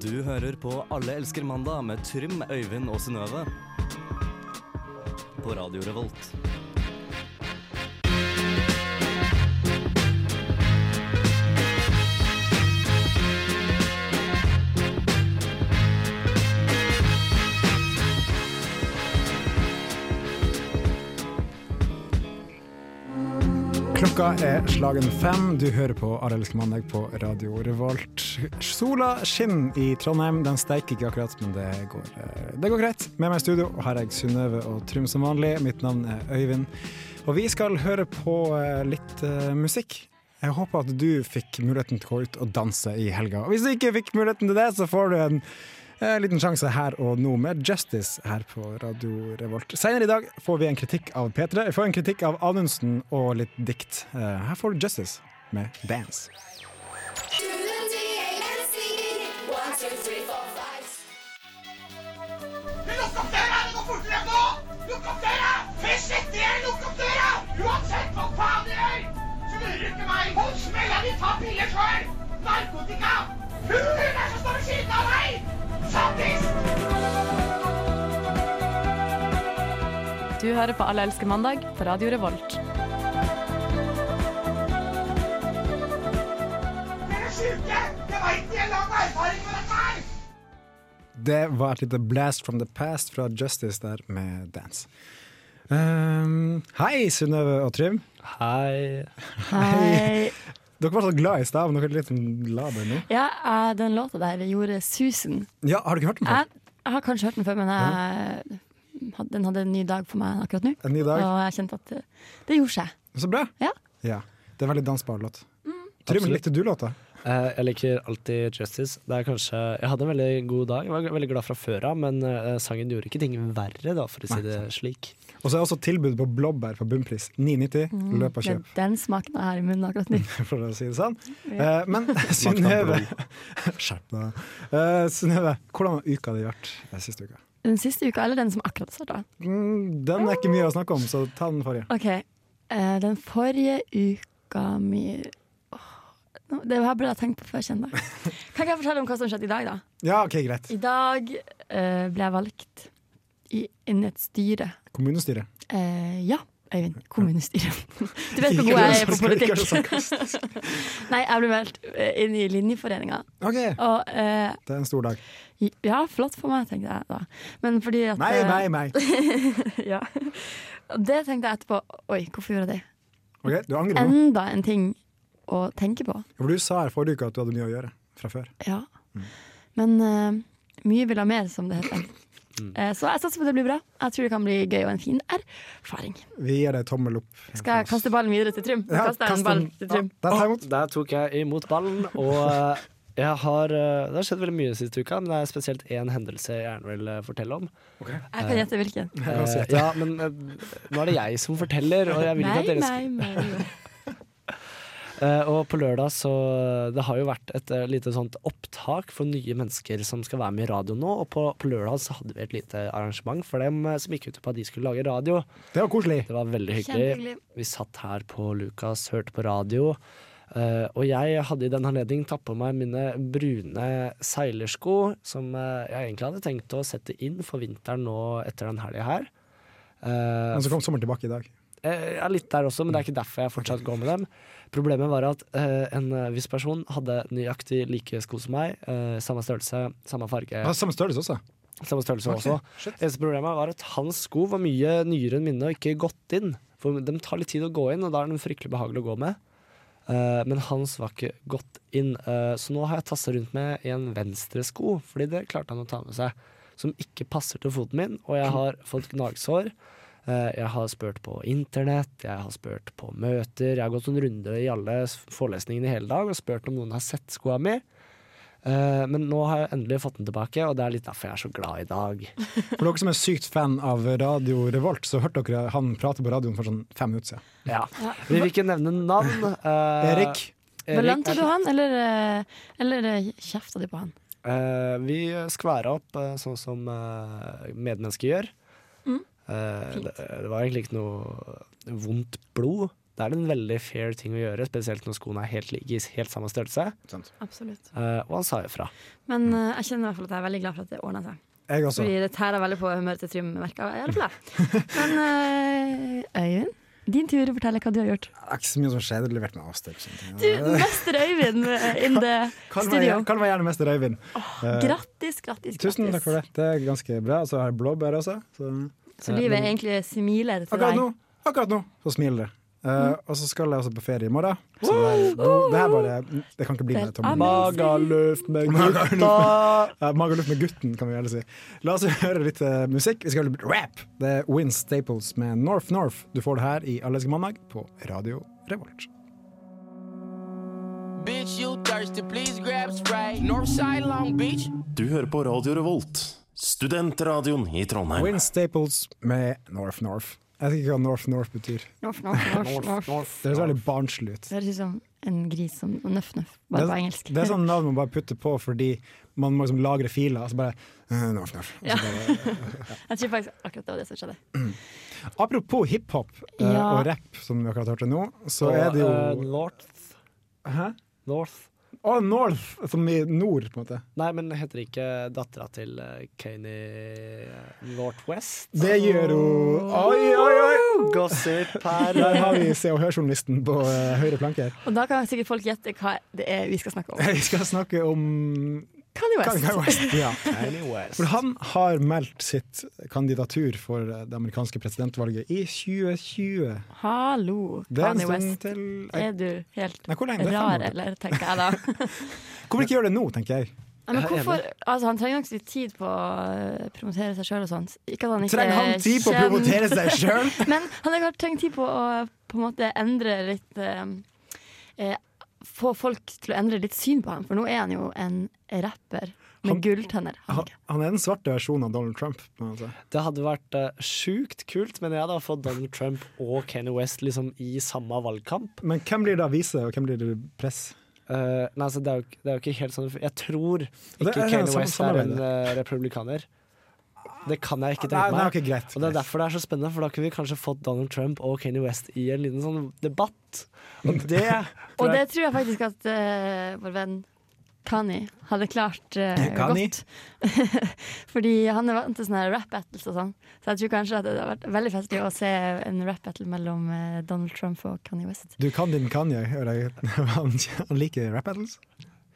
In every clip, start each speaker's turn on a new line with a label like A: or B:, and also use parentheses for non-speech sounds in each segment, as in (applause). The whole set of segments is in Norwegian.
A: Du hører på Alle elsker mandag med Trym, Øyvind og Synnøve. På Radio Revolt.
B: Klokka er slagen fem. Du hører på Arelsk mandag på Radio Revolt. Sola skinner i Trondheim. Den steiker ikke akkurat, men det går, eh, det går greit. Med meg i studio har jeg Synnøve og Trym som vanlig. Mitt navn er Øyvind. Og vi skal høre på eh, litt eh, musikk. Jeg håper at du fikk muligheten til å gå ut og danse i helga. Og hvis du ikke fikk muligheten til det, så får du en Eh, liten sjanse her og nå med Justice her på Radio Revolt. Senere i dag får vi en kritikk av P3. Vi får en kritikk av Anundsen og litt dikt. Eh, Her får du Justice med Dance.
C: Lukk opp døra! Det går fortere enn nå! Lukk opp døra! Først etter jeg lukk opp døra! Uansett hva faen du gjør, så lurer du ikke meg. Hold smella di, ta piller sjøl! Narkotika! Hulen er som står ved siden av deg! Sattis!
D: Du hører på Alle elsker mandag på Radio Revolt.
C: Dere er sjuke! Jeg veit de har lang erfaring med dette her!
B: Det var et lite blast from the past fra Justice der med Dance. Ehm, hei, Synnøve og Trym.
E: Hei.
B: Hei. Dere var så glad i stad, men dere er litt sånn laber nå.
F: Ja, eh, den låta der gjorde susen.
B: Ja, Har du ikke hørt den før?
F: Jeg, jeg har kanskje hørt den før, men jeg, had- den hadde en ny dag for meg akkurat nå.
B: En ny dag.
F: Og jeg kjente at det, det gjorde seg.
B: Så bra.
F: Ja.
B: ja. Det er veldig dansbar låt. Trym,
E: Absolutt.
B: likte du låta?
E: Eh, Jeg liker alltid Justice. Det er kanskje, jeg hadde en veldig god dag, jeg var veldig glad fra før av, men eh, sangen gjorde ikke ting verre, da, for å si det slik.
B: Og så er også tilbudet på blåbær for bunnpris 9,90. Løp og
F: Det
B: kjøp.
F: er den smaken jeg har i munnen akkurat nå.
B: (laughs) for å si det sånn. Eh,
F: (laughs)
B: men Synnøve (laughs) Skjerp deg. Eh, Synnøve, hvordan har uka di vært eh, siste uka?
F: Den siste uka, eller den som akkurat starta.
B: Mm, den er ikke mye å snakke om, så ta den forrige.
F: OK. eh, Den forrige uka mi Åh, nå- Det her burde jeg tenkt på før kjenner jeg.
B: (laughs)
F: Kan ikke jeg fortelle om hva som skjedde i dag, da?
B: Ja, OK, greit.
F: I dag eh, ble jeg valgt i, inn i et styre.
B: Kommunestyret.
F: Eh, ja, Øyvind.
B: (laughs)
F: Kommunestyret. Du vet hvor god jeg er
B: Ikke vær
F: på
B: så
F: politikk. (laughs)
B: sarkastisk.
F: Nei, jeg ble meldt eh, inn i linjeforeninga.
B: OK, det
F: Og eh,
B: er en stor dag.
F: ja, flott for meg, tenkte jeg da. Men fordi at eh,
B: Nei, nei, nei.
F: (laughs) Ja. Og Det tenkte jeg etterpå. Oi, hvorfor gjorde jeg det?
B: Ok, Du angrer nå?
F: Enda en ting å tenke på.
B: For du sa her forrige uke at du hadde mye å gjøre fra før.
F: Ja.
B: Mm.
F: Men eh, mye vil ha mer, som det heter. Eh, så jeg satser på at det blir bra. Jeg tror det kan bli gøy og en fin erfaring.
B: Vi gir deg tommel opp.
F: Skal jeg kaste ballen videre til Trym?
B: Ja,
F: Ja, kaster jeg
B: kast
F: en ball
B: den.
F: til Trym.
B: Ja, der tar jeg imot.
E: Der tok jeg imot ballen, og eh, jeg har, eh, det har skjedd veldig mye siste uka, men det er spesielt én hendelse jeg gjerne vil eh, fortelle om.
F: Jeg kan gjette hvilken.
B: kan si
E: Eh,
B: det.
E: ja, men eh, nå er det jeg som forteller, og jeg vil ikke
F: Nei,
E: at dere skal
F: nei, nei. (laughs)
E: Eh, og på lørdag så Det har jo vært et eh, lite sånt opptak for nye mennesker som skal være med i radio nå. Og på, på lørdag så hadde vi et lite arrangement for dem eh, som gikk ut på at de skulle lage radio.
B: Det var koselig.
E: Det var veldig hyggelig.
F: Kjempehyggelig.
E: Vi satt her på Lukas, hørte på radio. eh, og jeg hadde i den anledning tatt på meg mine brune seilersko, som eh, jeg egentlig hadde tenkt å sette inn for vinteren nå etter den helga her. Eh,
B: Men så kom sommeren tilbake i dag.
E: Eh, Ja, litt der også, men det er ikke derfor jeg fortsatt går med dem. Problemet var at eh, en eh, viss person hadde nøyaktig like sko som meg. Eh, samme størrelse, samme farge,
B: Ja, samme størrelse også.
E: samme størrelse
B: Ok,
E: også. Eneste problemet var at hans sko var mye nyere enn mine og ikke gått inn. For de tar litt tid å gå inn, og da er de fryktelig behagelige å gå med. Eh, men hans var ikke gått inn, eh, så nå har jeg tassa rundt med en venstre sko, fordi det klarte han å ta med seg. Som ikke passer til foten min, og jeg har fått gnagsår. Eh, Jeg har spurt på internett, jeg har spurt på møter, jeg har gått en runde i alle s- forelesningene i hele dag og spurt om noen har sett skoa mi. Eh, Men nå har jeg endelig fått den tilbake, og det er litt derfor jeg er så glad i dag.
B: For dere som er sykt fan av Radio Revolt, så hørte dere han prate på radioen for sånn fem minutter siden.
E: Ja. Vi vil ikke nevne navn. Eh,
B: Erik,
E: Erik
F: Belønte
E: er-
F: du han, eller, eh, eller eh, kjefta du på han?
E: Eh, Vi skværa opp eh, sånn som eh,
F: Mm.
E: medmennesker gjør. Eh, det, det var egentlig ikke noe vondt blod. Da er det en veldig fair ting å gjøre, spesielt når skoene er helt like i helt samme størrelse.
B: Sant.
F: Absolutt.
E: Eh, og han sa ifra.
F: Men eh, jeg kjenner i hvert fall at jeg er veldig glad for at det ordna seg.
B: Jeg også.
F: Fordi det tærer veldig på humøret til Trym. merker jeg, i alle (laughs) fall jeg. Men eh, Øyvind, din tur å fortelle hva du har gjort.
B: Det er ikke så mye som skjedde levert meg avstøt.
F: Du, mester Øyvind eh, in the
B: Kall meg,
F: studio.
B: kall meg gjerne mester Øyvind. Eh,
F: Grattis, grattis.
B: tusen takk for det. Det er ganske bra. Og så har jeg blåbær også. Så.
F: Så livet egentlig smiler
B: Eh,
F: til
B: Akkurat
F: deg. Mm.
B: nå, akkurat nå så smiler det. Eh, Og så skal jeg også på ferie i morgen. Så det, er, god- det her bare Det kan ikke bli med
F: Det er
B: tomme.
E: Magaluf med gutta!
B: Ja, Magaluf med gutten, kan vi gjerne si. La oss høre litt eh, musikk. Vi skal høre litt rap. Det er Win Staples med North North. Du får det her i Allerske mandag på Radio Revolt.
G: Bitch, you thirsty, please grab Sprite. Northside Long Beach.
H: Du hører på Radio Revolt, studentradioen i Trondheim.
B: Win Staples med North North. Jeg vet ikke hva North North betyr.
F: North, north, north, north.
B: Det høres veldig barnslig ut.
F: Det høres ut som en gris som nøff-nøff,
B: Det
F: bare på
B: er,
F: engelsk.
B: det er
F: (laughs)
B: sånn navn man bare putter på fordi man må liksom lagre filer. Altså bare, eh, North North. Og så bare,
F: Jeg tror faktisk akkurat det var det som skjedde.
B: Apropos hiphop eh,
F: Ja.
B: og rapp, som vi akkurat hørte nå, så
E: Og,
B: er det jo
E: eh, North.
B: Hæ?
E: North.
B: Å, North, som i nord, på en måte.
E: Nei, men heter ikke dattera til eh, Kanye Northwest?
B: Det gjør hun Oi, oi, oi!
E: Gossip
B: Der
E: her.
B: har vi Se og Hør-journalisten på eh, høyre planke
E: (laughs)
B: her.
F: Og da kan sikkert folk gjette hva det er vi skal
B: (laughs)
F: snakke om.
B: Vi skal snakke om
F: Kanye West.
B: Kanye West. Ja.
E: Kanye West.
B: For han har meldt sitt kandidatur for eh, det amerikanske presidentvalget i 2020.
F: Hallo,
B: Det er en
F: Kanye
B: stund
F: West. Eh,
B: til Nei,
F: Er du helt
B: hvor lenge? Det er fem
F: rar,
B: år til.
F: eller, tenker jeg
B: (laughs)
F: da.
B: Hvorfor ikke gjøre det nå, tenker jeg.
F: Nei, men hvorfor, altså, han trenger nok litt tid på å eh, promotere seg sjøl og sånt. Ikke at han ikke
B: Trenger han tid på å
F: kjem-
B: promotere
F: (laughs)
B: seg sjøl?
F: Men han har trengt tid på å på en måte endre litt eh, eh, Få folk til å endre litt syn på ham, for nå er han jo en rapper med
B: Han-
F: gulltenner. han
B: Han,
F: ikke?
B: han er den svarte versjonen av Donald Trump. På en måte.
E: Det hadde vært eh, sjukt kult, men jeg da, å få Donald Trump og Kanye West liksom i samme valgkamp.
B: Men hvem blir det avise, og hvem blir det press?
E: Eh, nei, altså, det, er jo, ikke- det er jo ikke helt sånn Jeg tror
B: er-
E: ikke
B: det er
E: Kanye
B: sam-
E: West er en eh, republikaner. Det kan jeg ikke
B: Nei,
E: tenke
B: nei,
E: meg.
B: ok, greit.
E: Og Det er derfor det er så spennende, for da kunne vi kanskje fått Donald Trump og Kanye West i en liten sånn debatt. Og det
F: Og det tror jeg faktisk at eh, vår venn Kani hadde klart eh,
B: Kanye?
F: godt. (laughs) Fordi han er vant til sånne her rap battles og sånn. Så jeg tror kanskje at det hadde vært veldig festlig å se en rap battle mellom eh, Donald Trump og Kanye West.
B: Du kan din Kanye, hører jeg. (laughs) Han, han liker rap battles.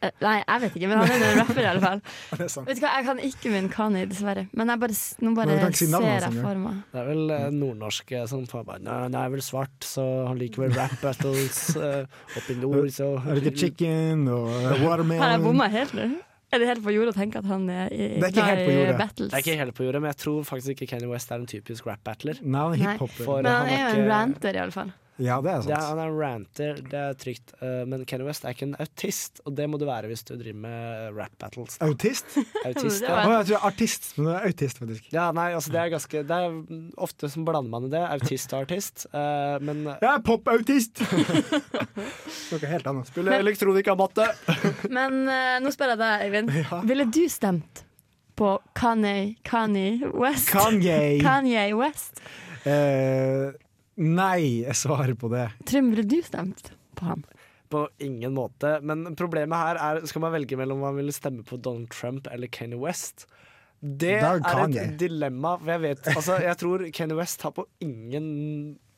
F: Eh, nei, jeg vet ikke, men han er en rapper i alle
B: (laughs)
F: fall.
B: Det er sant.
F: Vet du hva, Jeg kan ikke min Kani, dessverre. Men jeg bare, s- nå bare
B: Men du kan ikke si navnet hans
F: ser jeg
B: engang.
F: for meg.
E: Det er vel
B: Mm.
E: eh, nordnorsk eh, sånn på bare, Nei, han er vel svart, så han liker
B: (laughs)
E: vel rap battles. eh, Oppe i nord, så
B: Han liker chicken og eh,
F: Har jeg
B: watermelon.
F: bomma helt nå? Er det helt på jordet å tenke at han er i,
B: Det er ikke
F: klar
B: helt på
F: i
B: jordet.
F: battles?
E: Det er ikke helt på jordet, men jeg tror faktisk ikke Kanye West er en typisk rap battler.
B: Nei, han er
F: Nei.
E: For-
B: hiphoper.
F: Men han er jo en
E: ikke-
F: ranter, i alle fall.
B: Ja, det er
E: Det er,
B: sant.
E: han er en ranter, det er trygt, eh, men Kanye West er ikke en autist, og det må du være hvis du driver med eh, rap
B: (laughs)
E: battles.
B: Autist?
E: Autist,
F: Det
E: ja.
B: Å,
F: var-
B: jeg tror jeg er artist, men jeg er autist, faktisk.
E: Ja, nei, altså det er ganske Det er ofte som blander man i det. Autist og artist. eh, men
B: Jeg er pop-autist! (laughs) Noe helt annet. Spiller elektronikk av matte.
F: Men eh, nå spør jeg deg, Eivind.
B: (laughs) Ja.
F: Ville du stemt på Kanye, Kanye West?
B: Kanye.
F: Kanye West?
B: Eh, nei, jeg svarer på det.
F: Trym, ville du stemt på han?
E: på ingen måte. Men problemet her er skal man velge mellom om man vil stemme på Donald Trump eller Kanye West. Det
B: Da
E: er
B: Kanye.
E: et dilemma. For jeg, vet, altså, jeg tror Kanye West har på ingen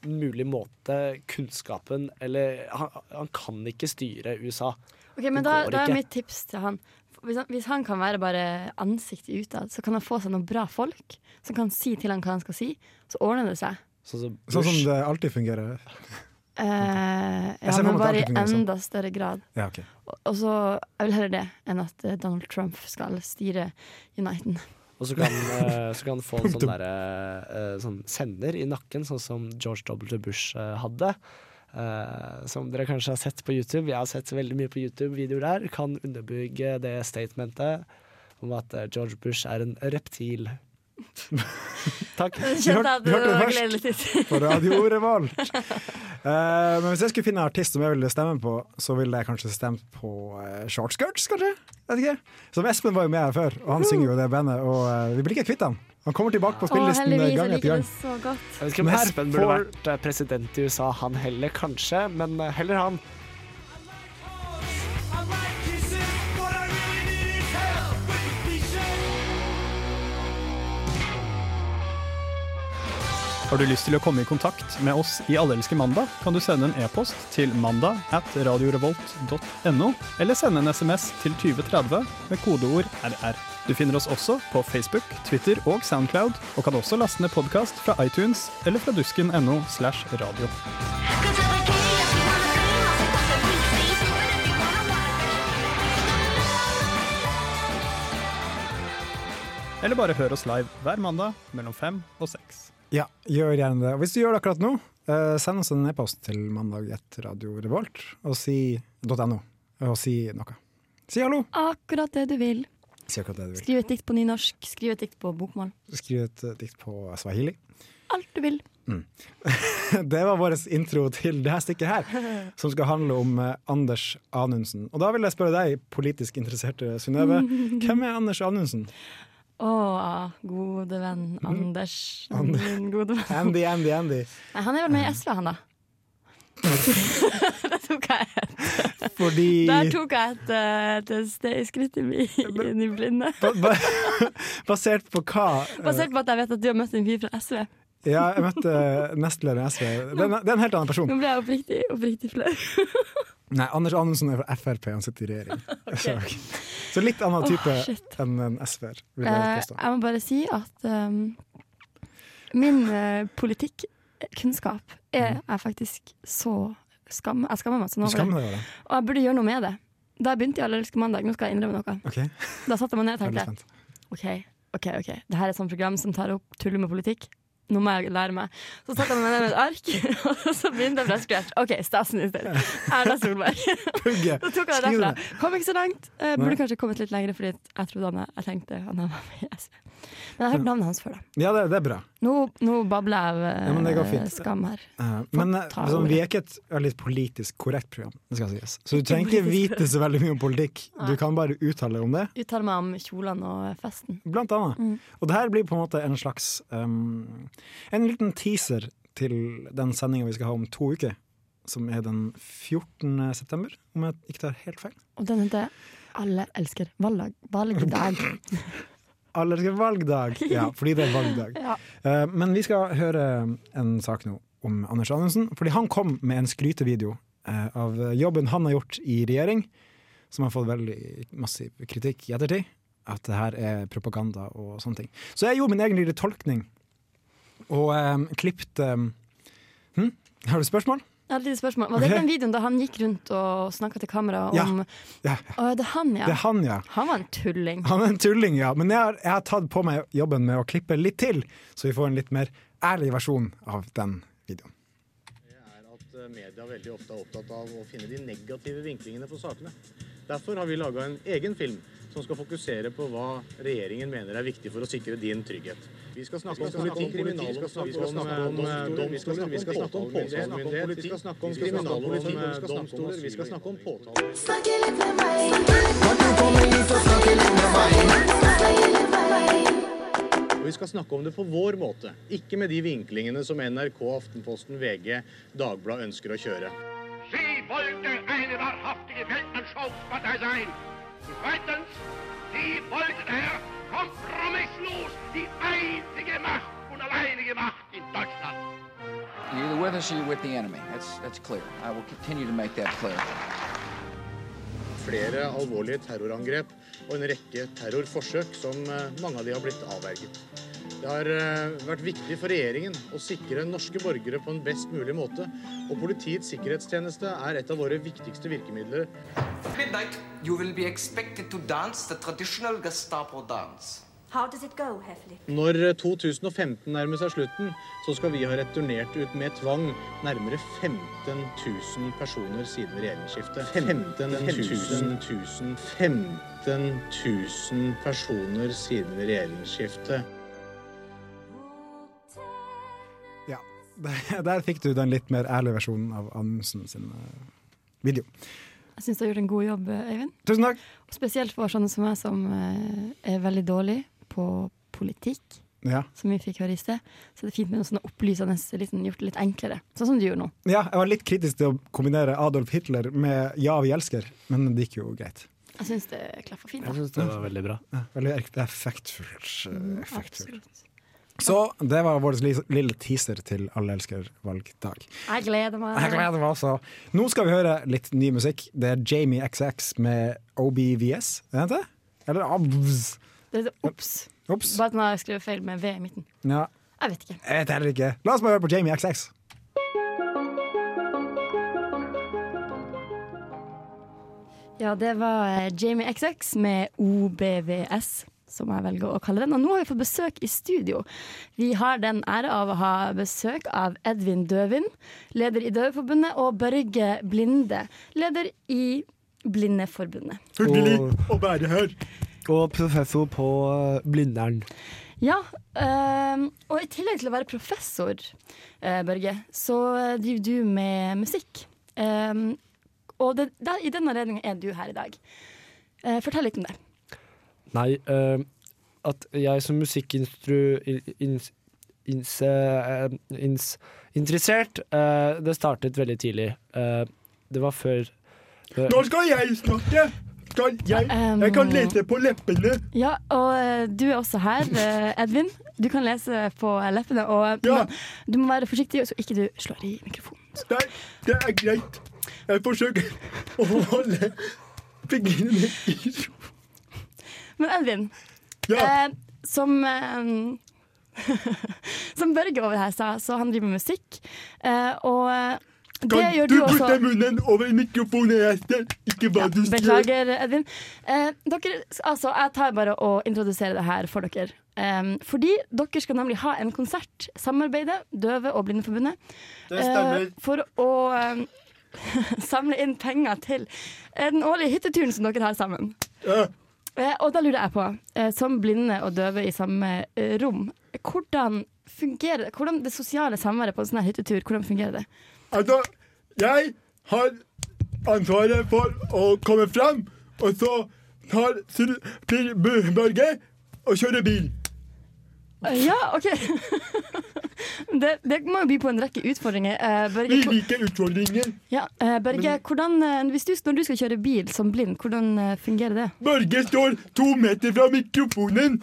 E: mulig måte kunnskapen eller Han, han kan ikke styre USA.
F: Ok, men
E: Det
F: da,
E: går
F: da er
E: ikke.
F: mitt tips til han hvis, han hvis han kan være bare ansiktet utad, så kan han få seg noen bra folk som kan si til han hva han skal si, så ordner det seg.
E: Sånn som Bush.
B: Sånn som det alltid fungerer.
F: Eh,
B: Jeg
F: ja,
B: ser for
F: men
B: meg at
F: bare
B: det
F: i
B: alltid fungerer sånn.
F: enda større grad.
B: Ja, ok.
F: Og- Og så, Jeg vil heller det enn at eh, Donald Trump skal styre (laughs) Uniten.
E: Og så kan, eh, så kan han få en sånn, derre, eh, sånn sender i nakken, sånn som George W. Bush eh, hadde. Eh, som dere kanskje har sett på YouTube. Jeg har sett veldig mye på YouTube-videoer der. Kan underbygge det statementet om at eh, George Bush er en (laughs) reptil. Takk.
F: Kjente jeg at
B: du
F: det
B: hørte det
F: var
B: først.
F: gledelig titt.
B: på Radio Revolt. Eh, men hvis jeg skulle finne en artist som jeg ville stemme på, så ville jeg kanskje stemt på eh, Short Skirts, kanskje? Vet ikke. Som Espen var jo med her før, og han synger jo i det bandet, og eh, vi blir ikke kvitt han. Han kommer tilbake på spillelisten
F: Å, heldigvis,
B: eh, gang
F: jeg
B: etter
F: liker det
B: gang.
F: så godt.
E: Jeg vet ikke om
B: Men her
E: Espen burde
B: får-
E: vært eh, president i USA, han heller, kanskje. Men eh, heller han.
I: Har du lyst til å komme i kontakt med oss i Allelske mandag, kan du sende en e-post til mandag at radiorevolt.no, eller sende en SMS til 2030 med kodeord RR. Du finner oss også på Facebook, Twitter og Soundcloud, og kan også laste ned podkast fra iTunes eller fra dusken.no slash radio. Eller bare hør oss live hver mandag mellom fem og seks.
B: Ja, gjør gjerne det. Og hvis du gjør det akkurat nå, eh, send oss en e-post til mandag etter Radio Revolt og si .no, og si noe. Si hallo!
F: Akkurat det du vil.
B: Si akkurat det du vil.
F: Skriv et dikt på nynorsk, skriv et dikt på bokmål.
B: Skriv et eh, dikt på swahili. (laughs)
F: Alt du vil.
B: Det var vår intro til det her stykket her,
F: (laughs)
B: som skal handle om eh, Anders Anundsen. Og da vil jeg spørre deg, politisk interesserte Synnøve,
F: (laughs)
B: hvem er Anders Anundsen?
F: Å, gode venn Anders.
B: (laughs) Ander-
F: Min gode venn.
B: Andy, Andy, Andy.
F: Nei, han er vel med i SV,
B: (laughs)
F: han da. Der tok jeg et,
B: Fordi
F: (laughs) der tok jeg et, eh, et, ste- skritt inn i, inn i blinde.
B: (laughs) Ba- ba- Basert på hva? eh,
F: Basert på at jeg vet at du har møtt en fyr fra SV.
B: Ja, jeg møtte nestlederen i SV. Det er en- det er en helt annen person.
F: Nå ble jeg oppriktig, oppriktig flau.
B: Nei, Anders Anundsen er fra Frp, han sitter i
F: (laughs)
B: regjering. Så, så litt annen
F: Åh,
B: type
F: shit.
B: enn en SV-er, vil
F: Eh,
B: jeg påstå.
F: jeg må bare si at um, min eh, politikkunnskap er jeg faktisk så skam... Jeg skammer meg sånn
B: Mm. Du
F: over det.
B: skammer deg over det.
F: Og jeg burde gjøre noe med det. Da jeg begynte i Allerske mandag, nå skal jeg innrømme noe.
B: Ok,
F: Da satte jeg meg ned og
B: veldig
F: tenkte
B: spent.
F: OK, ok, ok. det her er et sånt program som tar opp tuller med politikk. Nå må jeg lære meg. Så satte jeg meg ned med et ark, (laughs) og så begynte jeg fra scratch. OK, statsminister. Erna Solberg.
B: (laughs) Pugge.
F: Så tok jeg det
B: Skriv
F: derfra.
B: det.
F: Kom ikke så langt. Eh, burde
B: Nei.
F: kanskje kommet litt lenger, fordi jeg trodde han jeg tenkte han var med i SV. Men jeg har hørt navnet hans før, da.
B: Ja, det, det er bra.
F: Nå, nå babler jeg eh,
B: Ja, men det går fint.
F: skam her.
B: Eh, Men eh,
F: ta
B: sånn,
F: ordet.
B: vi er ikke et veldig politisk korrekt program, det skal sies. Så du trenger ikke vite så veldig mye om politikk. Du kan bare uttale deg om det,
F: Uttaler meg om kjolene og festen.
B: blant annet.
F: Mm.
B: Og det her blir på en måte en slags um, En liten teaser til den sendinga vi skal ha om to uker. Som er den 14. september, om jeg ikke tar helt feil.
F: Og den heter Alle elsker valgdag. valgdag.
B: Alle elsker
F: (laughs)
B: valgdag! Ja, fordi det er valgdag.
F: Ja.
B: Eh, men vi skal høre en sak nå om Anders Anundsen. Fordi han kom med en skrytevideo eh, av jobben han har gjort i regjering, som har fått veldig massiv kritikk i ettertid. At det her er propaganda og sånne ting. Så jeg gjorde min egen lille tolkning, og um, klippte hm? Har du spørsmål?
F: Jeg hadde et lite spørsmål. Var det
B: Ok.
F: den videoen da han gikk rundt og snakka til kamera
B: Ja.
F: om
B: Ja.
F: Å, det er han, ja.
B: Det er han, ja.
F: Han var en tulling.
B: Han er en tulling, ja. Men jeg har, jeg har tatt på meg jobben med å klippe litt til, så vi får en litt mer ærlig versjon av den videoen.
J: er at eh, media veldig ofte er opptatt av å finne de negative vinklingene på sakene. Derfor har vi laga en egen film som skal fokusere på hva regjeringen mener er viktig for å sikre din trygghet. Vi skal snakke om politi, kriminal, vi skal snakke om eh, domstoler, vi skal snakke om påtalemyndighet, vi skal snakke om kriminalpoliti, vi skal snakke om domstoler, vi skal snakke om påtalemyndighet. Og vi skal snakke om det på vår måte, ikke med de vinklingene som NRK, Aftenposten, VG, Dagbladet ønsker å kjøre.
C: Sie wollte eine wahrhaftige Weltanschauungspartei sein. Und zweitens, sie wollte daher kompromisslos die einzige Macht und alleinige Macht in Deutschland.
G: You're either with us or you're with the enemy. That's, that's clear. I will continue to make that clear.
J: flere alvorlige terrorangrep og en rekke terrorforsøk, som eh, mange av de har blitt avverget. Det har eh, vært viktig for regjeringen å sikre norske borgere på en best mulig måte, og Politiets sikkerhetstjeneste er et av våre viktigste virkemidler
G: Midnight, you will be expected to dance the traditional Gestapo dance.
K: How does it go, Heffley?
J: Når 2015 nærmer seg slutten, Hm, så skal vi ha returnert ut med tvang nærmere 15 000 personer siden regjeringsskiftet. 15 000, 000, 15 000 personer siden regjeringsskiftet.
B: Ja, der, der fikk du den litt mer ærlige versjonen av Amundsen sin eh, video.
F: Jeg syns du har gjort en god jobb, Øyvind.
B: Tusen takk!
F: Og spesielt for sånne som meg, som eh, er veldig dårlig på politikk.
B: Ja.
F: som vi fikk høre i sted. Så det er fint med noe sånn opplysende, liksom, gjort det litt enklere. Sånn som du gjorde nå.
B: Ja, jeg var litt kritisk til å kombinere Adolf Hitler med Ja, vi elsker, men det gikk jo greit.
F: Jeg syns det klaffa fint. Da.
E: det var veldig bra.
B: Ja, veldig ek- effektfullt. eh, Effektfullt.
F: Mm, Absolutt.
B: Så det var vår li- lille teaser til Alle elsker valgdag.
F: Jeg gleder meg.
B: Jeg gleder meg også. Nå skal vi høre litt ny musikk. Det er Jamie XX med OBVS, er det det? Eller ABVS?
F: Det er så Ops.
B: Ops.
F: Bare at nå har jeg skrevet feil med V i midten.
B: Ja,
F: Jeg vet ikke.
B: jeg vet heller ikke. La oss bare høre på Jamie XX.
F: Ja, det var eh, Jamie XX med OBVS, som jeg velger å kalle den. Og nå har vi fått besøk i studio. Vi har den ære av å ha besøk av Edvin Døvin, leder i Døveforbundet, og Børge Blinde, leder i Blindeforbundet.
E: å være her. Og professor på eh, Blindern.
F: Ja, ehm, og i tillegg til å være professor, eh, Børge, så driver du med musikk. Ehm, og det, der, i den anledningen er du her i dag. Eh, fortell litt om det.
E: Nei, eh, at jeg som musikkinstru... Ins, ins, eh, ins, interessert, eh, det startet veldig tidlig. Eh, det var før
K: Nå skal jeg snakke! Skal jeg, jeg kan lese på leppene.
F: Ja, og eh, du er også her, eh, Edvin. Du kan lese på leppene, og du, må, du må være forsiktig så ikke du slår i mikrofonen.
K: Nei, det er greit. Jeg forsøker å holde fingrene mine i ro.
F: Men Edvin, eh, som eh, (laughs) Som Børge over her sa, så han driver med musikk, eh, og eh, det
K: Kan
F: gjør
K: du
F: du også.
K: putte munnen over mikrofonen? Jeg ser ikke hva du sier.
F: Beklager, Edvin. Eh, dere, altså, jeg tar bare å introdusere det her for dere. Em, fordi dere skal nemlig ha en konsert, samarbeidet Døve- og Blindeforbundet, eh,
L: Det stemmer.
F: for å em, (laughs) samle inn penger til eh, den årlige hytteturen som dere har sammen. Eh, og da lurer jeg på, eh, som blinde og døve i samme eh, rom, hvordan fungerer det? Hvordan det sosiale samværet på en sånn her hyttetur, hvordan fungerer det?
K: Altså, jeg har ansvaret for å komme fram, og så tar Syl- Pil- Bø- Børge og kjører bil.
F: Eh, Ja, OK. (laughs) det, det må jo by på en rekke utfordringer. Eh, Børge,
K: Vi liker utfordringer.
F: ja, eh, Børge hvordan, eh, hvis du, når du skal kjøre bil som blind, hvordan eh, fungerer det?
K: Børge står to meter fra mikrofonen.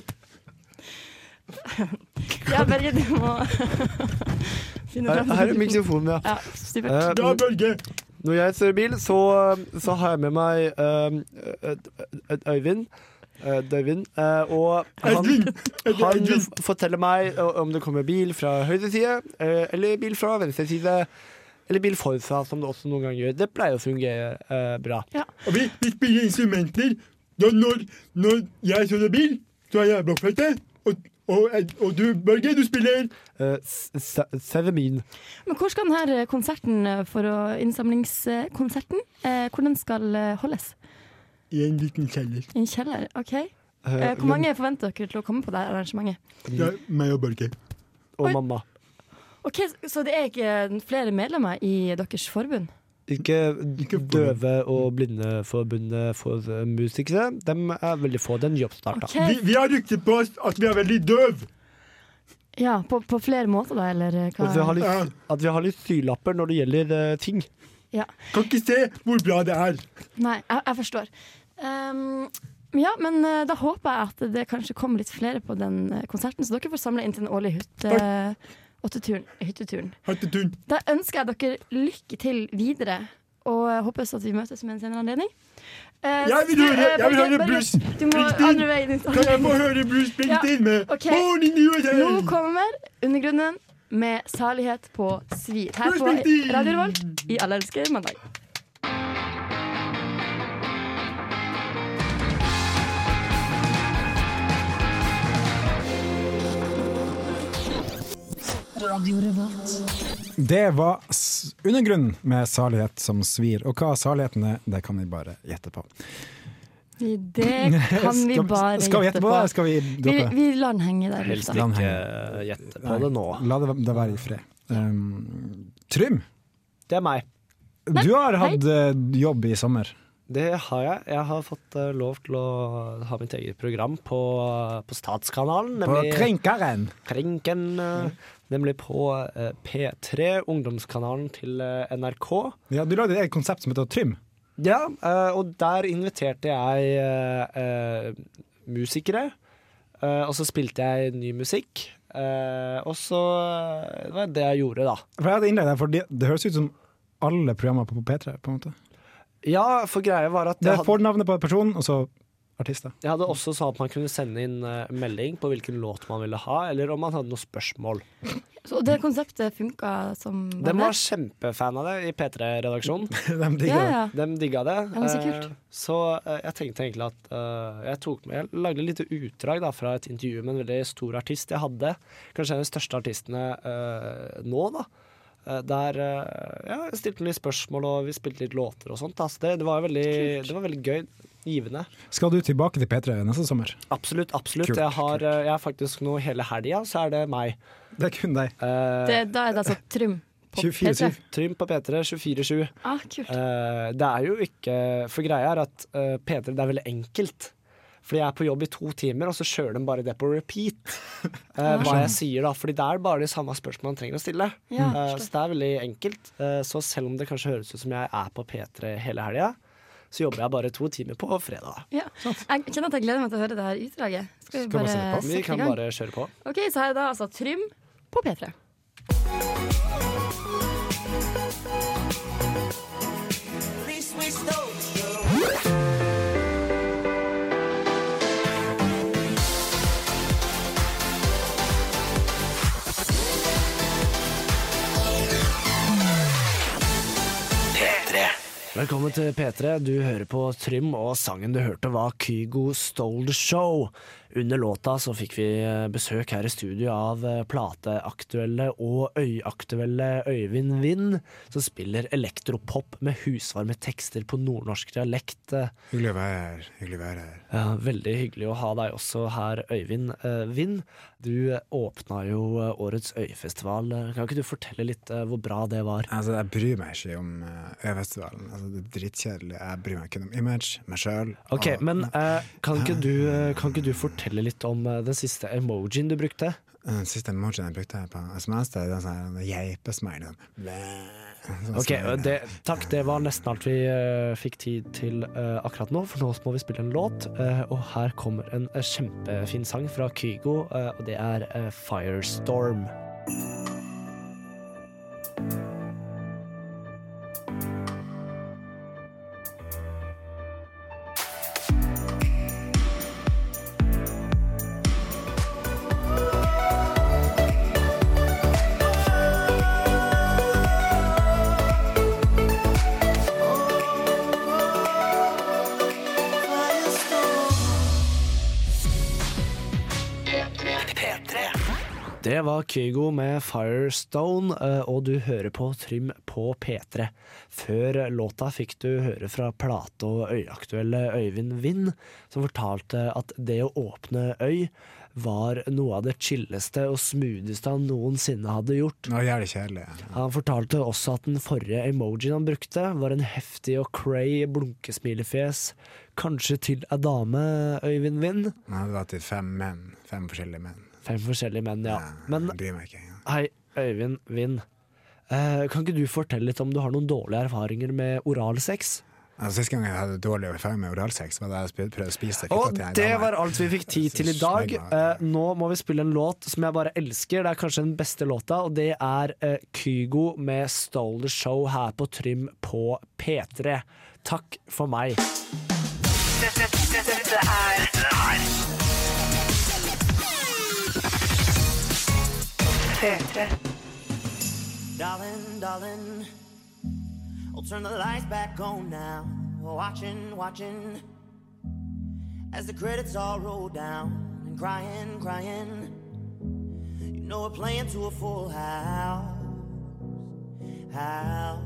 F: Ja, Børge, du må (laughs) finne
E: Her,
F: fram
E: her er mikrofonen, ja.
F: Ja, supert.
E: Eh, Når jeg kjører bil, så, så har jeg med meg eh, et- et Øyvind. eh, Døyvind. eh, og han,
K: (laughs)
E: han forteller meg o- om det kommer bil fra høyre side, eh, eller bil fra venstre side. Eller bil forfra, som det også noen ganger gjør. Det pleier å fungere eh, bra.
K: Og vi, vi spiller instrumenter. Så når, når jeg kjører bil, så er jeg blokkfløyte. Og, og, og du, Børge, du spiller
E: Eh, Seremin.
F: Men hvor skal denne konserten eh, for å, innsamlingskonserten eh, Hvordan skal eh, holdes?
K: I en liten kjeller.
F: I en kjeller? OK. Eh, hvor mange forventer dere til å komme på det arrangementet?
K: Ja, meg og Børge.
E: Og mamma.
F: Ok, Så det er ikke flere medlemmer i deres forbund?
E: Ikke Døve- og blindeforbundet for eh, musikere. De er veldig få. Den jobbstarta.
F: Ok. Vi-
K: har rykte på oss at vi er veldig døv.
F: Ja, på, på flere måter, da? Eller eh, hva?
E: At vi har litt, at vi har litt sylapper når det gjelder eh, ting.
F: Ja.
K: Kan ikke se hvor bra det er.
F: Nei, jeg, jeg forstår. Ehm, ja, men eh, da håper jeg at det kanskje kommer litt flere på den eh, konserten, så dere får samla inn til den årlige hytte, åtteturen- hytteturen.
K: Hattetun.
F: Da ønsker jeg dere lykke til videre, og jeg håper også at vi møtes med en senere anledning. Eh,
K: Jeg vil
F: du,
K: høre,
F: eh,
K: jeg vil
F: Børge,
K: høre
F: Børge,
K: Bruce
F: Du må
K: Springsteen.
F: andre veien.
K: Kan jeg få høre Bruce Springsteen med
F: ok.
K: Born in the USA?
F: Nå kommer Undergrunnen med Salighet på svir. Her
K: Bruce
F: på
K: Springsteen!
F: Radio Revolt i Alle elsker mandag.
M: Radio Revolt.
B: Det var s- Undergrunn med salighet som svir. Og hva saligheten er, det kan vi bare gjette på.
F: Det (laughs) kan vi
B: Skal-
F: bare
B: Skal vi gjette på det? eller Skal vi
F: Vi,
B: droppe det?
F: vi lar den henge der. i lufta.
E: gjette
B: på det nå. La det, det være i fred. Um, Trym,
E: Det er meg.
B: du har
F: hei.
B: hatt eh, jobb i sommer.
E: Det har jeg. Jeg har fått eh, lov til å ha mitt eget program på, på Statskanalen.
B: På Krinkeren.
E: Krinken, eh, nemlig på eh, P3, ungdomskanalen til eh, NRK.
B: Ja, du lagde et eget konsept som heter Trym.
E: Ja, eh, og der inviterte jeg eh, eh, musikere. eh, og så spilte jeg ny musikk. eh, og så eh, Det var det jeg gjorde, da.
B: For jeg hadde innlegg der, for det, det høres ut som alle programmer på P3. på en måte.
E: Ja, for greia var at
B: Det
E: jeg, hadde,
B: får navnet på personen, og så artister. (laughs)
E: jeg hadde også sånn at man kunne sende inn eh, melding på hvilken låt man ville ha, eller om man hadde noen spørsmål.
F: Så det konseptet funka som bare
E: De var
F: det.
E: kjempefan av det i P3-redaksjonen.
B: De
F: digga Ja, ja. det.
E: De digga det.
F: Ja, men så kult.
E: Eh, Så eh, jeg tenkte egentlig at eh, jeg, tok med, jeg lagde et lite utdrag da, fra et intervju med en veldig stor artist jeg hadde. Kanskje en av de største artistene eh, nå, da. Eh, Der eh, ja, jeg stilte litt spørsmål, og vi spilte litt låter og sånt. da. Så det, det, var veldig, det var veldig gøy. Givende.
B: Skal du tilbake til P3 neste sommer?
E: Absolutt. absolutt.
B: Kult,
E: jeg, har, eh, jeg har faktisk nå hele helga, så er det meg.
B: Det er kun deg.
F: det. Da er det altså Trym på P3.
E: Trym på P3 24-7.
F: Ah, kult.
E: Eh, det er jo ikke For greia er at eh, P3 det er veldig enkelt. Fordi jeg er på jobb i to timer, og så kjører de bare det på repeat. Eh, hva jeg sier da, fordi det er bare de samme spørsmålene man trenger å stille.
L: Ja,
E: Eh,
L: forstår.
E: så det er veldig enkelt. Eh, så selv om det kanskje høres ut som jeg er på P3 hele helga, så jobber jeg bare to timer på fredag.
F: Ja. Jeg kjenner at jeg gleder meg til å høre det her utdraget. Skal vi
E: Skal
F: bare
E: sette på? Vi
F: sette Eh, i
E: kan
F: gang?
E: bare kjøre på.
F: OK, så her er da altså Trym på P3.
E: P3. Velkommen til P3. Du hører på Trym, og sangen du hørte var Kygo Stole the Show. Under låta så fikk vi eh, besøk her i studio av eh, plateaktuelle og øyaktuelle Øyvind Vind, som spiller elektropop med husvarme tekster på nordnorsk dialekt. eh,
B: Hyggelig å være her. Hyggelig å være her.
E: ja, veldig hyggelig å ha deg også her, Øyvind eh, Vind. Du eh, åpna jo eh, årets Øyfestival. Kan ikke du fortelle litt eh, hvor bra det var?
B: Altså, jeg bryr meg ikke om eh, Øyfestivalen. Altså, det er dritkjedelig. Jeg bryr meg kun om image, meg sjøl.
E: Ok, men eh, kan, ikke du, eh, kan ikke du fortelle litt om eh, den siste emojien du brukte?
I: Eh,
B: Den siste emojien jeg brukte her på SMS, det er den sånn her geipesmile.
I: liksom.
B: Sånn. Sånn
E: Ok, eh,
B: smile.
E: det, Takk, det var nesten alt vi eh, fikk tid til eh, akkurat nå, for nå må vi spille en låt. eh, og her kommer en eh, kjempefin sang fra Kygo, eh, og det er eh, 'Firestorm'. Det var Kygo med Firestone, eh, og du hører på Trym på P3. Før låta fikk du høre fra plate- og øyaktuelle Øyvind Vind, som fortalte at det å åpne øy var noe av det chilleste og smootheste han noensinne hadde gjort.
B: Nå gjør det kjedelig.
E: Han fortalte også at den forrige emojien han brukte, var en heftig og cray blunkesmilefjes, kanskje til ei dame, Øyvind Vind.
B: Nå hadde det vært til fem menn. Fem forskjellige menn.
E: Fem forskjellige menn, ja. Men
B: Jeg bryr meg ikke.
E: Hei, Øyvind Vind. Eh, kan ikke du fortelle litt om du har noen dårlige erfaringer med oralsex?
B: Altså, sist gang jeg hadde dårlig erfaring med oralsex, var da jeg sp- prøvde å spise det
E: Og
B: knyttet til en
E: det
B: dame.
E: var alt vi fikk tid til i dag. Eh, nå må vi spille en låt som jeg bare elsker. Det er kanskje den beste låta, og det er eh, Kygo med 'Stole the Show' her på Trym på P3. Takk for meg.
C: Dette, dette, dette er P3.
N: Darling, darling, I'll turn the lights back on now. Watching, watching, as the credits all roll down and crying, crying. You know we're playing to a full house, house.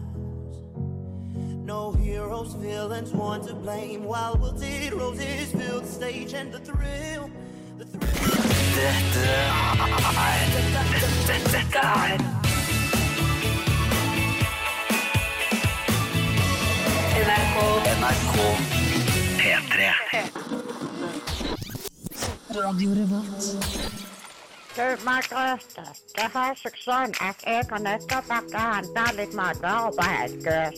N: No heroes, villains, one to blame. While wilted roses fill the stage and the thrill, the thrill.
C: NRK
O: på NRK
P: P3.
O: Radio Revolt.
Q: Du, Margrethe, det har seg sånn at jeg har nettopp vært og handlet litt matvarer på Helgøs.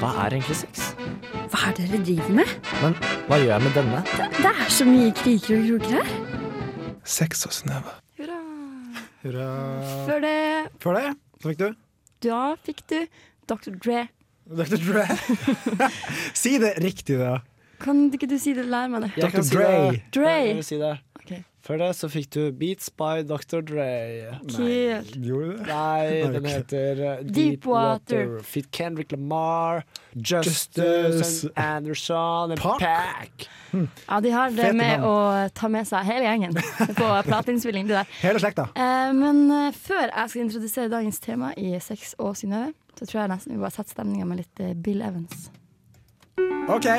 R: Hva er egentlig sex?
S: Hva er det dere driver med?
E: Men hva gjør jeg med denne?
S: Det, det er så mye kriker og kroker her.
E: Sex og snøve.
I: Hurra.
F: Før det
I: Før det, så fikk du
F: Da fikk du Dr. Dre.
I: Dr. Dre.
E: (laughs)
I: si det riktig, da.
F: Kan ikke du si det? Lær meg det.
E: Jeg kan si det.
F: Dre.
E: Jeg vil si det. Før det så fikk du Beats by Dr. Dre.
F: Kult.
I: Gjorde du det?
E: Nei, den
I: (laughs) ok.
E: heter uh, Deep,
F: Deep Water.
E: Water. Fit Kendrick Lamar, Justice,
I: Justice.
E: and Anderson and Park.
F: Ja, de har det
E: Fete
F: med
E: navn.
F: å ta med seg hele gjengen på plateinnspilling. det der.
I: Hele slekta.
F: Eh, men eh, før jeg skal introdusere dagens tema i Sex og Synnøve, så tror jeg nesten vi bare setter stemninga med litt eh, Bill Evans.
I: OK.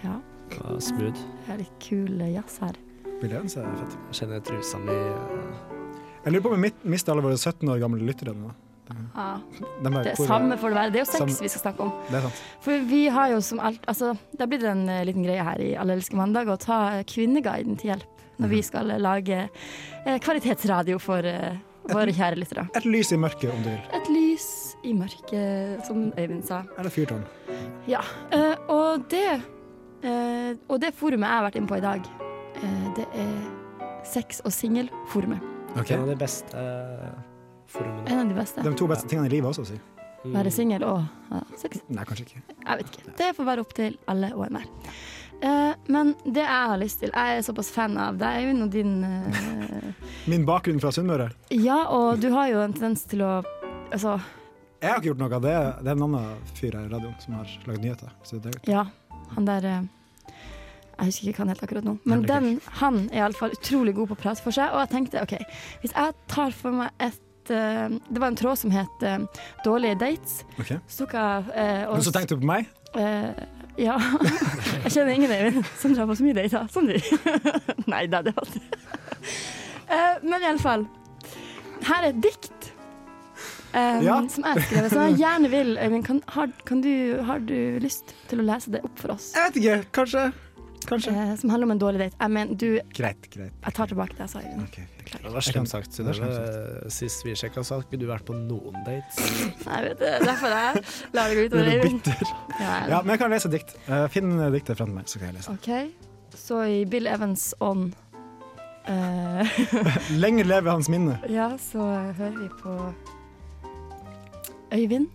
F: Ja,
E: Ja, smooth.
F: det er litt kul eh, jazz her.
I: Bill Evans er fett.
E: Jeg kjenner trusa mi eh,
I: Jeg lurer på om vi mit- mister alle våre 17 år gamle lyttere nå.
F: Ja.
I: De er-
F: Det er
I: hvor-
F: samme får det være. Det er jo
I: Samme-
F: sex vi skal snakke om.
I: Det er sant.
F: For vi har jo som alt altså, Det har blitt en eh, liten greie her i Alle elsker mandag å ta eh, Kvinneguiden til hjelp når
I: Mhm.
F: vi skal eh, lage eh, kvalitetsradio for eh, våre kjære lyttere.
I: Et lys i mørket, om du vil.
F: Et lys i mørket, som Øyvind sa.
I: Eller fyrtårn.
F: Ja. eh, og det eh, Og det forumet jeg har vært inne på i dag, eh, det er sex- og singelforumet.
E: En av de beste eh, formene.
F: En av de beste.
I: De to beste tingene i livet også, si.
E: Mm.
F: Være singel og ha sex.
I: Nei, kanskje ikke.
F: Jeg vet ikke. Det får være opp til alle og enhver. Eh, men det jeg har lyst til Jeg er såpass fan av deg, Øyvind, og din eh,
I: Min bakgrunn fra Sunnmøre
F: Ja, og du har jo en tendens til å Altså,
I: Jeg har ikke gjort noe. Det er, det er en annen fyr her i radioen som har lagd nyheter. Så det er greit.
F: ja, han der eh, Jeg husker ikke hva han het akkurat nå, men
I: Henrik
F: den, han er iallfall utrolig god på å prate for seg, og jeg tenkte OK, hvis jeg tar for meg et eh, Det var en tråd som het eh, 'Dårlige dates'.
I: Ok.
F: Så tok jeg eh, og
I: Men så tenkte du på meg.
F: Eh, ja. (laughs) Jeg kjenner ingen Eivind som drar på så mye dater som du. (laughs) Nei da, det var det. Eh, men i alle fall. Her er et dikt eh,
P: Ja.
F: som jeg har skrevet, som jeg gjerne vil Eivind, kan, har, kan du, har du lyst til å lese det opp for oss?
I: Jeg vet ikke. Kanskje. Kanskje.
F: Eh, som handler om en dårlig date. Jeg mener, du
I: Greit, greit.
F: Jeg tar tilbake det jeg sa, Eivind.
E: Det var
I: Jeg kan-
E: slemt sagt.
I: det var
E: Synnøve.
I: slemt
E: eh, Sist vi sjekka, så har ikke du vært på noen dates.
F: Nei, vet du, derfor jeg lar det gå
I: Nå
F: utover
I: er du
F: Eivind.
I: bitter.
F: Ja, jeg-
I: Ja, men jeg kan lese dikt. Eh, Finn eh, diktet fram til meg, så kan jeg lese.
F: OK. Så i Bill Evans ånd eh,
I: Lenge leve hans minne.
F: Ja, så hører vi på Øyvind,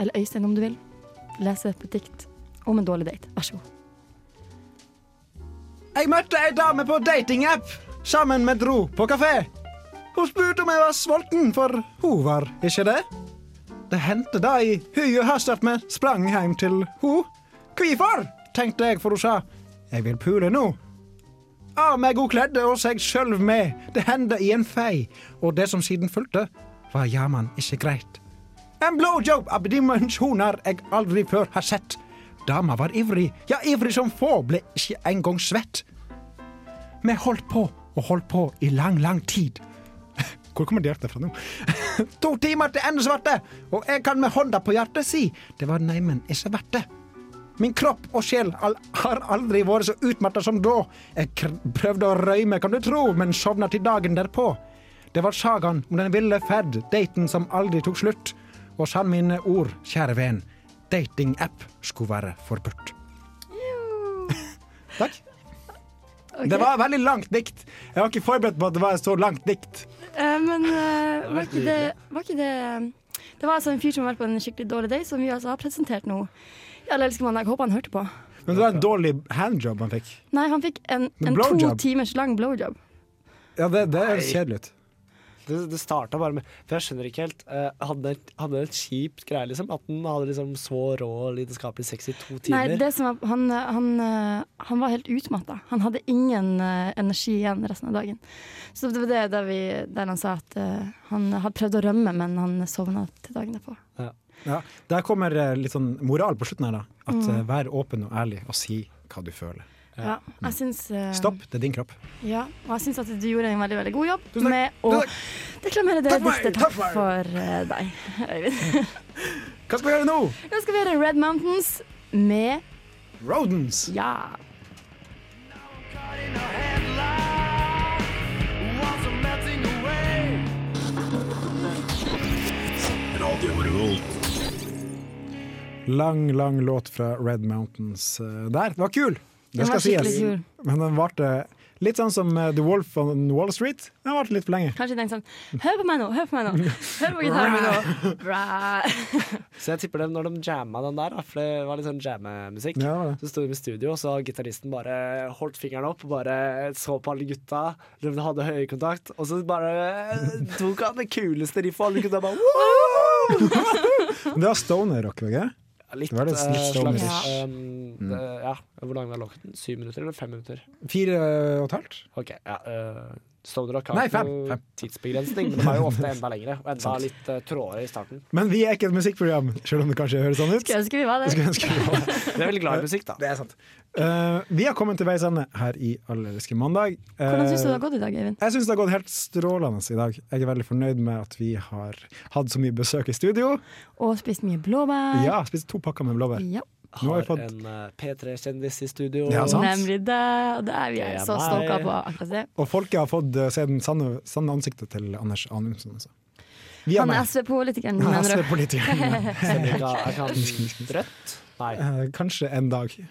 F: eller Øystein om du vil, lese et dikt om en dårlig date. Vær så god.
B: Jeg møtte ei dame på datingapp sammen med Dro på kafé. Hun spurte om jeg var sulten, for hun var ikke det. Det hendte da i hui og hast at vi sprang hjem til hun. Hvorfor? tenkte jeg, for hun sa jeg vil pule nå. Av meg hun kledde og seg sjølv med, det hendte i en fei, og det som siden fulgte, var jammen ikke greit. En blowjob av dimensjoner jeg aldri før har sett. Dama var ivrig, ja ivrig som få, ble ikke engang svett. Vi holdt på og holdt på i lang, lang tid. (laughs) Hvor kommer diktet fra nå? (laughs) to timer til endesvarte, og jeg kan med hånda på hjertet si det var neimen ikke verdt det. Min kropp og sjel al har aldri vært så utmatta som da. Jeg kr- prøvde å røyme, kan du tro, men sovna til dagen derpå. Det var sagaen om den ville ferd, daten som aldri tok slutt. Og sann mine ord, kjære venn, datingapp skulle være forbudt. Takk.
I: Det var et veldig langt dikt. Jeg var ikke forberedt på at det var et så langt dikt.
F: Eh, men eh,
I: Det var
F: var, ikke det, var ikke det eh, Det var altså en fyr som har vært på en skikkelig dårlig date, som vi altså har presentert nå. Ja, eller elsker mandag. Håper han hørte på.
I: Men det var en dårlig handjob han fikk.
F: Nei, han fikk en,
I: Men
F: en to
I: blowjob?
F: timers lang blowjob.
I: Ja, det, det er kjedelig ut.
E: Det, det starta bare med For jeg skjønner ikke helt. eh, hadde den- hadde den et kjipt greie, liksom? At den hadde liksom så rå lidenskapelig sex i to timer?
F: Nei, det som var, han, han, eh, han var helt utmatta. Han hadde ingen eh, energi igjen resten av dagen. Så det var det der, vi, der han sa at eh, han hadde prøvd å rømme, men han sovna til dagen derpå.
B: Ja, der kommer eh, litt sånn moral på slutten her, da. At
F: Mm.
B: eh, vær åpen og ærlig, og si hva du føler.
F: Ja, jeg syns eh,
B: Mm. Stopp, det er din kropp.
F: Ja, og jeg syns at du gjorde en veldig veldig god jobb med å deklamere det
B: Takk for meg,
F: diktet.
B: takk
F: Takk
B: for meg.
F: for eh, deg, Øyvind.
B: Hva skal vi gjøre nå?
F: Nå skal vi gjøre Red Mountains med
B: Rodents.
F: Ja.
H: Radio Revolt.
B: Lang, lang låt fra Red Mountains eh, der. Det var kul! Det
F: Den
B: skal
F: var skikkelig
B: sies.
F: kul.
B: Men den varte litt sånn som eh, The Wolf on Wall Street. Den varte litt for lenge.
F: Kanskje tenk sånn Hør på meg nå, hør på meg nå! Hør på gitaren min nå! Bra.
E: Så jeg tipper det når de jamma den der, da, for det var litt sånn jammemusikk.
B: Ja, det var det.
E: Så sto de i studio, og så gitaristen bare holdt fingeren opp og bare så på alle gutta. De hadde høykontakt, og så bare eh, tok han det kuleste riffet, og alle gutta bare
B: Men Det var stoner-rock, ikke det?
E: Litt,
B: det Mm. var litt, litt
E: eh, slags,
B: stonerish.
E: ehm, det- ja. Hvor lang var låten? Syv minutter eller fem minutter?
B: Fire og et halvt?
E: OK. ja, eh, Stoner Rock har
B: Nei,
E: ikke
B: fem,
E: noe
B: fem.
E: tidsbegrensning, men det var jo ofte enda lengre, og enda
B: Sant.
E: litt uh, trådere i starten.
B: Men vi er ikke et musikkprogram, selv om det kanskje høres sånn ut.
F: Skulle ønske vi var det.
B: Skulle ønske vi var det.
E: Vi er veldig glad i musikk, da.
B: Det er sant. Eh, vi har kommet til veis ende her i Allerske mandag. Eh,
F: Hvordan syns du det har gått i dag, Eivind?
B: Jeg syns det har gått helt strålende i dag. Jeg er veldig fornøyd med at vi har hatt så mye besøk i studio.
F: Og spist mye blåbær.
B: Ja, spist to pakker med blåbær.
F: Ja.
B: Nå
E: Har
B: har vi fått
E: en eh, P3-kjendis i studio.
B: Ja, sant.
F: Nemlig det. Og det er vi
E: Det er
F: så
E: meg.
F: stoka på akkurat det.
B: Og folket har fått eh, se den sanne, sanne ansiktet til Anders Anundsen. Altså. Vi
F: Han
B: med.
F: er SV-politikeren,
B: Han er
F: mener du? (laughs)
B: SV-politikeren, (laughs)
E: Rødt? Nei.
B: Eh, kanskje en dag.
F: Eh,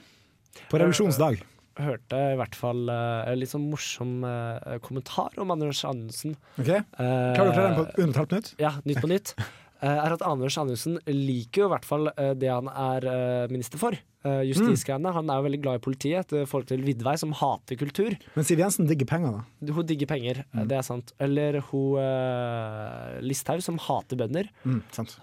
B: På revolusjonsdag.
E: hørte i hvert fall eh, en litt sånn morsom eh, kommentar om Anders Anundsen. Eh,
B: Ok? Klarer du å klare
F: eh,
B: den på under et halvt minutt?
E: Ja, Nytt på
B: (laughs)
E: nytt. eh, er at Anders Anundsen liker jo i hvert fall eh, det han er eh, minister for. eh,
B: Mm.
E: justisgreiene. Han er jo veldig glad i politiet, et forhold til Vidvei, som hater kultur.
B: Men Siv Jensen digger penger, da.
E: Hun digger penger, eh,
B: Mm.
E: det er sant. Eller hun eh, Listhaug, som hater bønder.
B: Mm, sant.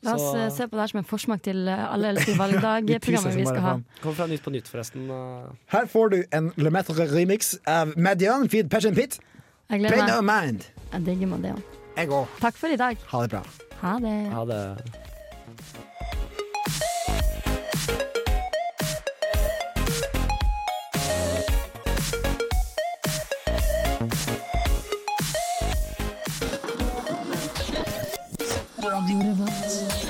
F: La oss
E: Så-
F: eh, se på det her som en forsmak til eh, alle elsker valgdag-programmet vi skal ha.
E: Kom fra Nytt på nytt, forresten. eh.
B: Her får du en Le Metre remix av Median Feed Passion Pit.
F: Jeg
B: Pain of
F: gleder meg.
B: Mind.
F: Jeg digger Madeon.
B: Jeg òg.
F: Takk for i dag.
B: Ha det bra.
F: Ha det.
E: Ha det.
M: Radio Revolt.